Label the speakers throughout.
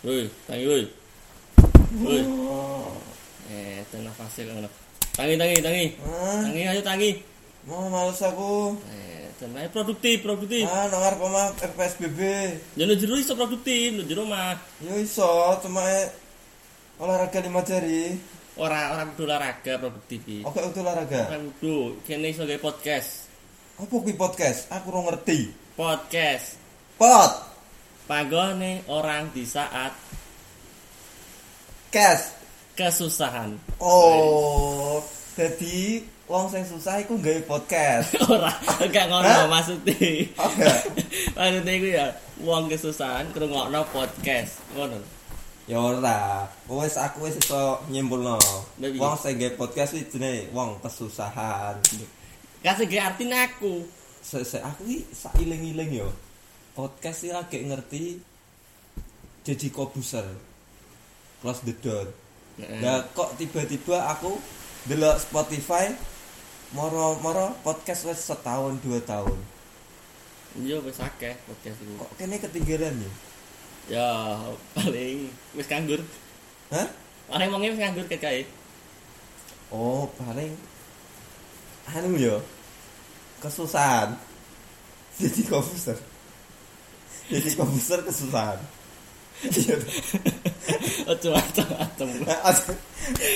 Speaker 1: Woi, tangi woi. Woi. Eh, tenang fasil ngono. Tangi tangi tangi.
Speaker 2: Ah,
Speaker 1: Tangi ayo tangi.
Speaker 2: mau males aku.
Speaker 1: Eh, tenang ayo produktif, produktif.
Speaker 2: Ah, nongar pemah RPSBB.
Speaker 1: Jono jero iso produktif, lo jero mah.
Speaker 2: Yo iso, cuma e- olahraga lima jari.
Speaker 1: Ora ora kudu olahraga produktif iki.
Speaker 2: Oke, itu olahraga.
Speaker 1: Ora kudu kene iso gawe podcast.
Speaker 2: Apa kuwi podcast? Aku ora ngerti.
Speaker 1: Podcast
Speaker 2: Pod,
Speaker 1: panggone orang di saat
Speaker 2: cash.
Speaker 1: kesusahan.
Speaker 2: Oh, jadi wong sing susah iku nggawe podcast.
Speaker 1: ora enggak ngono
Speaker 2: Hah?
Speaker 1: maksudnya.
Speaker 2: Oke.
Speaker 1: maksudnya iku ya wong kesusahan krungokno podcast ngono.
Speaker 2: Ya ora, wis aku wis iso nyimpulno.
Speaker 1: Lah, iya.
Speaker 2: Wong sing nggawe podcast iki jenenge wong kesusahan.
Speaker 1: Kasih ge artine aku.
Speaker 2: Se se- aku iki sailing-iling yo. Podcast iki lagi ngerti jadi kobuser. Close the door.
Speaker 1: Heeh.
Speaker 2: Nah, kok tiba-tiba aku delok Spotify moro-moro podcast wis setahun dua tahun.
Speaker 1: Iya wis akeh podcast iku.
Speaker 2: Kok kene ketinggalan ya?
Speaker 1: Ya paling wis nganggur.
Speaker 2: Hah?
Speaker 1: Paling wonge wis nganggur ket kae.
Speaker 2: Oh, paling anu ya. Kesusahan. Jadi komputer. Jadi komputer kesusahan. Iya. nah,
Speaker 1: Ojo atem-atem.
Speaker 2: Aduh, maaf,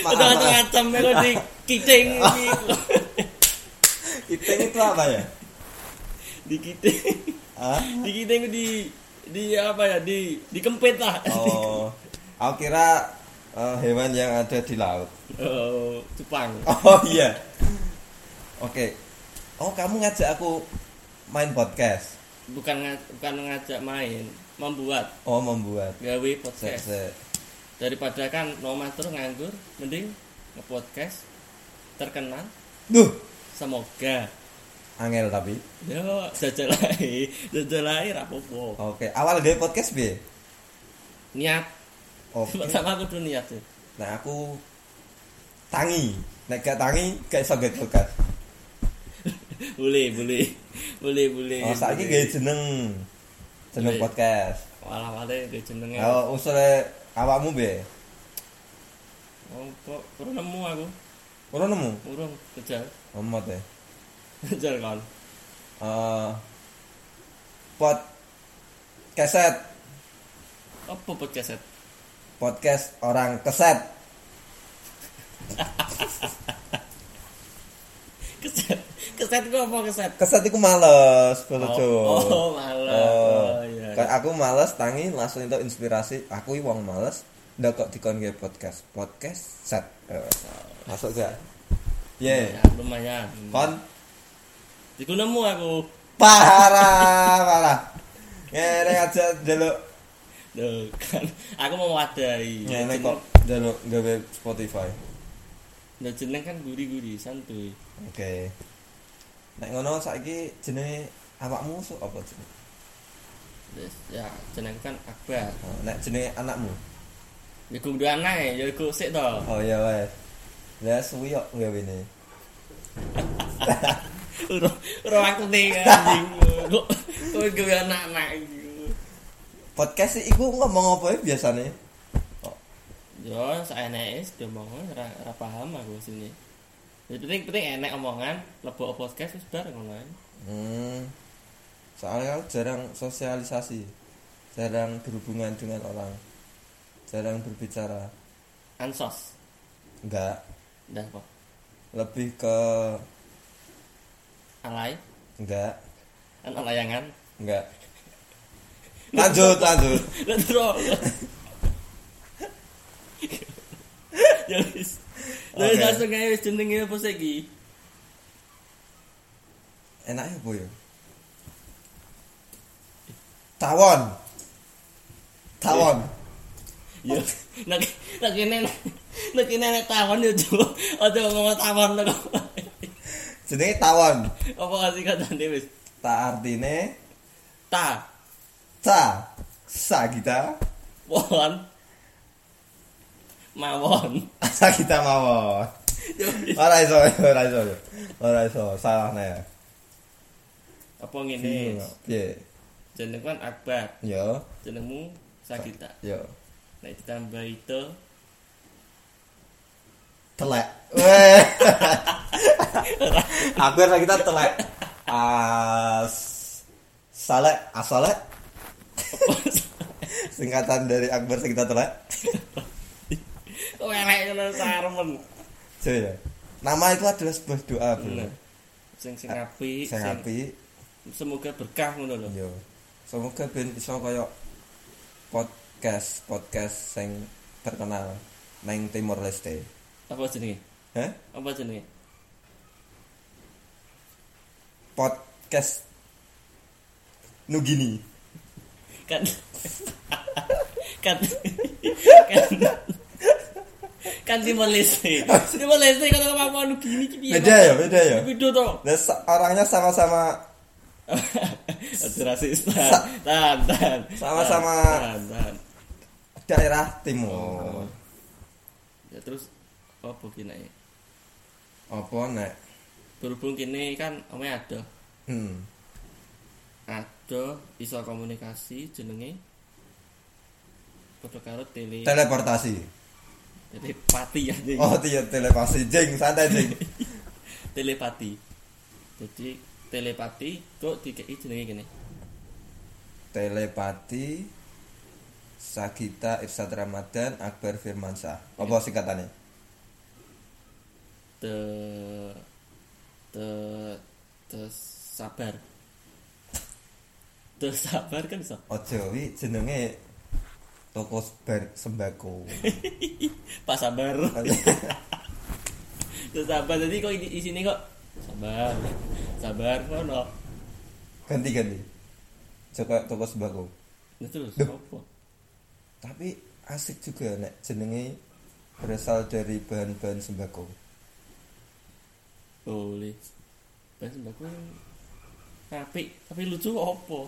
Speaker 1: Ojo
Speaker 2: maaf.
Speaker 1: atem-atem kok di kiting iki.
Speaker 2: Iteng itu apa ya?
Speaker 1: Di kiting.
Speaker 2: Hah?
Speaker 1: Di kiting ku di di apa ya di dikempit lah.
Speaker 2: Oh, aku kira eh, hewan yang ada di laut.
Speaker 1: Oh, cupang.
Speaker 2: Oh iya. Oke. Oh, kamu ngajak aku main podcast.
Speaker 1: Bukan nga- bukan ngajak main, membuat
Speaker 2: Oh, membuat.
Speaker 1: gawe
Speaker 2: Se
Speaker 1: podcast.
Speaker 2: se.
Speaker 1: Daripada kan nomah terus nganggur, mending nge-podcast terkenal
Speaker 2: Duh,
Speaker 1: semoga
Speaker 2: angel tapi.
Speaker 1: Yo, jajalai, jajalai rapopo.
Speaker 2: Oke, awal gawe podcast bi.
Speaker 1: Niat,
Speaker 2: Oke.
Speaker 1: sama aku dulu niat sih.
Speaker 2: Nah, aku tangi. Nek gak tangi, gak iso gawe podcast.
Speaker 1: Boleh, boleh, boleh, boleh.
Speaker 2: Oh, saiki gawe
Speaker 1: boleh.
Speaker 2: jeneng. Jeneng
Speaker 1: Boleh.
Speaker 2: podcast.
Speaker 1: Walah, walah, gue jenengnya. Oh,
Speaker 2: Oh, usule awakmu bi.
Speaker 1: Oh, kok kurang nemu aku,
Speaker 2: Ora nemu.
Speaker 1: kurang jajal,
Speaker 2: Omot ya.
Speaker 1: jajal kan.
Speaker 2: Eh, pod keset
Speaker 1: Apa podcast?
Speaker 2: podcast orang keset
Speaker 1: Keset, keset gue apa keset?
Speaker 2: keset iku males Bro
Speaker 1: Oh,
Speaker 2: Jo.
Speaker 1: oh, males.
Speaker 2: Oh,
Speaker 1: Oh, iya.
Speaker 2: Kayak aku males tangi langsung itu inspirasi aku iki wong males ndak kok dikon nge podcast podcast set Eh, masuk gak ye
Speaker 1: Ya, lumayan.
Speaker 2: kon
Speaker 1: Iku nemu aku.
Speaker 2: parah parah ngene aja delok
Speaker 1: Duh, kan, aku mau wadai.
Speaker 2: ngene Ya, kok delok gawe Spotify
Speaker 1: Nah, jeneng kan guri-guri, santuy.
Speaker 2: oke nek ngono saiki jenenge awakmu so apa jenenge
Speaker 1: Terus, Ya, jeneng kan Akbar.
Speaker 2: Oh, nek jenenge anakmu
Speaker 1: Iku dua anak ya, iku sik toh.
Speaker 2: Oh iya wes. Lah suwi kok gawe ini.
Speaker 1: Ora aku ning anjing. Kok kowe gawe anak-anak iki.
Speaker 2: Podcast sih iku ngomong apa ya biasane?
Speaker 1: Yo, saeneke sudah mau ora ora paham aku sini. Yang penting penting enek omongan, lebok podcast wis bareng ngono kan. ae.
Speaker 2: Hmm. Soalnya aku jarang sosialisasi. Jarang berhubungan dengan orang. Jarang berbicara.
Speaker 1: Ansos.
Speaker 2: Enggak,
Speaker 1: Ndah apa?
Speaker 2: lebih ke
Speaker 1: Alay, kan
Speaker 2: enggak,
Speaker 1: an layangan.
Speaker 2: enggak. Lanjut, lanjut.
Speaker 1: Lah terus. Ya wis. Lah
Speaker 2: Oke.
Speaker 1: langsung ae wis jenenge apa sih iki?
Speaker 2: Enaknya apa ya? Tawon. Tawon.
Speaker 1: Yo, nak nak kene nak kene nek tawon yo Jo. Ojo ngomong tawon to.
Speaker 2: Jenenge tawon.
Speaker 1: Apa kasih katane wis?
Speaker 2: Tak artine
Speaker 1: Ta,
Speaker 2: ta sagita
Speaker 1: won, mawon.
Speaker 2: sagita mawon
Speaker 1: Yo, wis.
Speaker 2: ora iso ora iso ora iso salah nih
Speaker 1: Apa ngene?
Speaker 2: piye
Speaker 1: Jeneng kan Akbar,
Speaker 2: yo
Speaker 1: jenengmu Sagita.
Speaker 2: yo
Speaker 1: Nek ditambah itu
Speaker 2: telek Weh. aku kira kita telek as salek asalek singkatan dari Akbar sing kita telek
Speaker 1: Oh elek ngono sarmen.
Speaker 2: Jadi, ya. nama itu adalah sebuah doa bro
Speaker 1: Bener. Sing sing apik, Iya.
Speaker 2: saya
Speaker 1: sing
Speaker 2: happy
Speaker 1: semoga berkah ngono lho.
Speaker 2: yo iya. semoga ben bisa koyo podcast podcast sing terkenal neng Timor Leste
Speaker 1: Apa jenenge?
Speaker 2: Hah?
Speaker 1: Apa jenenge?
Speaker 2: podcast Nugini
Speaker 1: Kan kan kan kan Timor Leste. Timor Leste kan kalau ngomong ngono gini iki piye?
Speaker 2: beda ya beda ya
Speaker 1: Beda to.
Speaker 2: Nah, se- orangnya sama-sama
Speaker 1: Aduh rasis tahan. Tahan, tahan.
Speaker 2: Sama-sama.
Speaker 1: Tahan, tahan.
Speaker 2: daerah timur.
Speaker 1: Ya terus apa kene?
Speaker 2: Apa nek?
Speaker 1: Berhubung kene kan ome ada
Speaker 2: Hmm.
Speaker 1: ada iso komunikasi jenenge padha karo tele
Speaker 2: Teleportasi.
Speaker 1: telepati ya Jeng.
Speaker 2: Oh, iya telepasi jing, santai jing.
Speaker 1: telepati jadi telepati kok dikei jenenge kene
Speaker 2: Telepati Sagita Irsad Ramadan Akbar Firmansyah. Apa singkatannya?
Speaker 1: te te te sabar te sabar kan iso
Speaker 2: Ojo wi jenenge toko sebar sembako.
Speaker 1: pas sabar te sabar jadi kok di sini kok sabar sabar ngono
Speaker 2: Ganti-ganti. Coba toko sembako.
Speaker 1: Nah, terus apa
Speaker 2: Tapi asik juga nek jenenge berasal dari bahan-bahan sembako.
Speaker 1: boleh bahan sembako yang apik tapi lucu opo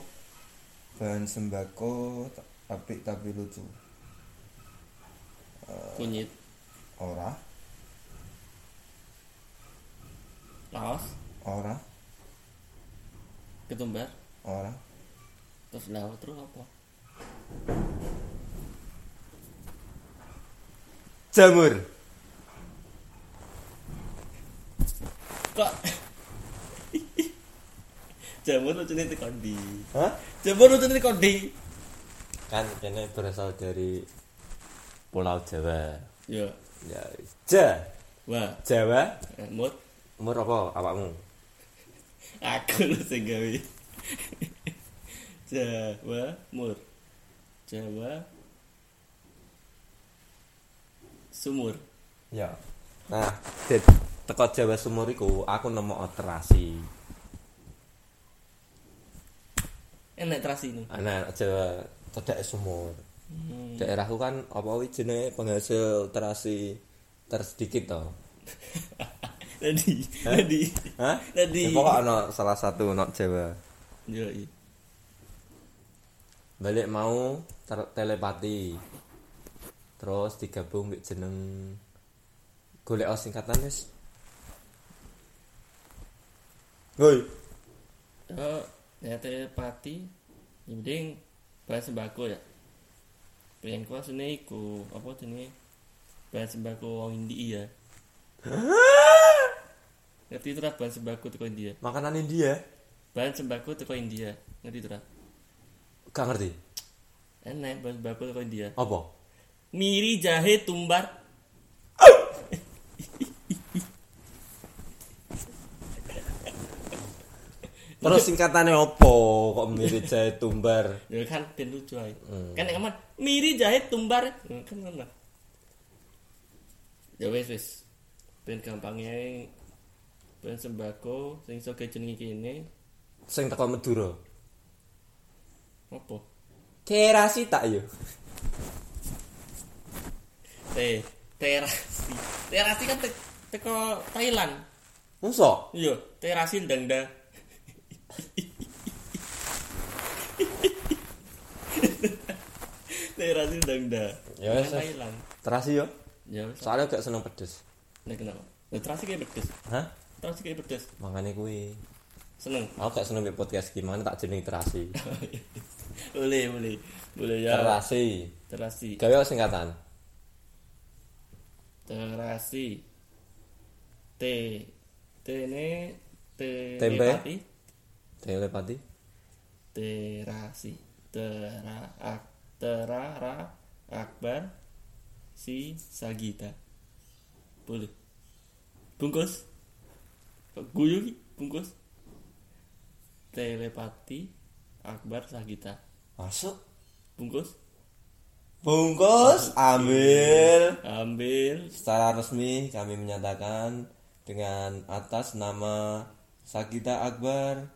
Speaker 2: Bahan sembako ta- apik tapi lucu.
Speaker 1: kunyit
Speaker 2: Ora,
Speaker 1: laos
Speaker 2: ora,
Speaker 1: ketumbar
Speaker 2: ora.
Speaker 1: terus laos terus apa
Speaker 2: Jamur.
Speaker 1: kok jamur lucu nih kondi
Speaker 2: Hah?
Speaker 1: jamur lucu nih kondi
Speaker 3: kan ini berasal dari Pulau Jawa
Speaker 1: ya
Speaker 3: ya ja
Speaker 1: wah
Speaker 3: Jawa
Speaker 1: eh, mut
Speaker 3: umur apa awakmu
Speaker 1: aku lu sing gawe jawa mur jawa sumur
Speaker 3: ya nah di- teko Jawa Sumur iku aku nemu terasi
Speaker 1: enak terasi ini
Speaker 3: anak Jawa tidak sumur
Speaker 1: hmm.
Speaker 3: daerahku kan apa wih jenenge penghasil terasi tersedikit toh
Speaker 1: tadi tadi
Speaker 3: Hah? Ya,
Speaker 1: Tadi.
Speaker 3: pokok ono salah satu nok Jawa
Speaker 1: yo iya.
Speaker 3: balik mau ter- telepati terus digabung mbek jeneng golek oh singkatan wis woi
Speaker 1: Oh, ya telepati yang penting bahan sembako ya pengen ku aslinya iku apa jenis bahan sembako wong India ngerti itu bahan sembako teko India
Speaker 3: makanan India
Speaker 1: bahan sembako teko India ngerti itu
Speaker 3: gak ngerti
Speaker 1: enak bahan sembako teko India
Speaker 3: apa
Speaker 1: miri jahe tumbar
Speaker 3: terus singkatannya apa kok mirip jahe tumbar
Speaker 1: ya kan ben lucu ae
Speaker 3: Hmm.
Speaker 1: kan yang aman miri jahe tumbar Hmm, kan mana ya wes wes ben gampangnya ben sembako sing iso kejenengi kene
Speaker 3: sing teko Madura
Speaker 1: opo
Speaker 3: terasi tak iya. yo
Speaker 1: teh terasi terasi kan te teko Thailand
Speaker 3: muso
Speaker 1: iya terasi ndang nda terasi ndang nda
Speaker 3: Ya wes, wes.
Speaker 1: Thailand
Speaker 3: terasi yo
Speaker 1: ya wes
Speaker 3: soalnya gak seneng pedes
Speaker 1: Nah, kenapa? Nah, terasi kayak pedes.
Speaker 3: hah
Speaker 1: Terasi kayak pedes.
Speaker 3: makanya kuwi
Speaker 1: Seneng.
Speaker 3: aku gak seneng mbek podcast gimana tak jeneng terasi
Speaker 1: boleh boleh boleh ya
Speaker 3: Terasi.
Speaker 1: terasi
Speaker 3: Gawe apa singkatan.
Speaker 1: terasi t t ini t
Speaker 3: Tempe.
Speaker 1: pati
Speaker 3: Telepati.
Speaker 1: terasi tera ak terara akbar si sagita boleh bungkus Kok guyu ki? bungkus telepati akbar sagita
Speaker 2: Masuk.
Speaker 1: bungkus
Speaker 2: Bungkus ambil.
Speaker 1: ambil
Speaker 2: Secara resmi kami menyatakan dengan atas nama Sakita Akbar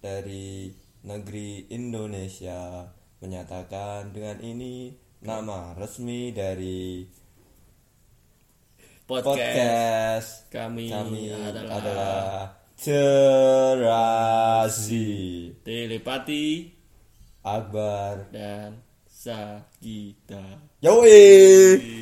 Speaker 2: dari negeri Indonesia menyatakan dengan ini nama resmi dari
Speaker 1: podcast,
Speaker 2: podcast
Speaker 1: kami,
Speaker 2: kami
Speaker 1: adalah,
Speaker 2: adalah Terasi
Speaker 1: telepati
Speaker 2: Akbar
Speaker 1: dan sagita
Speaker 2: Yoi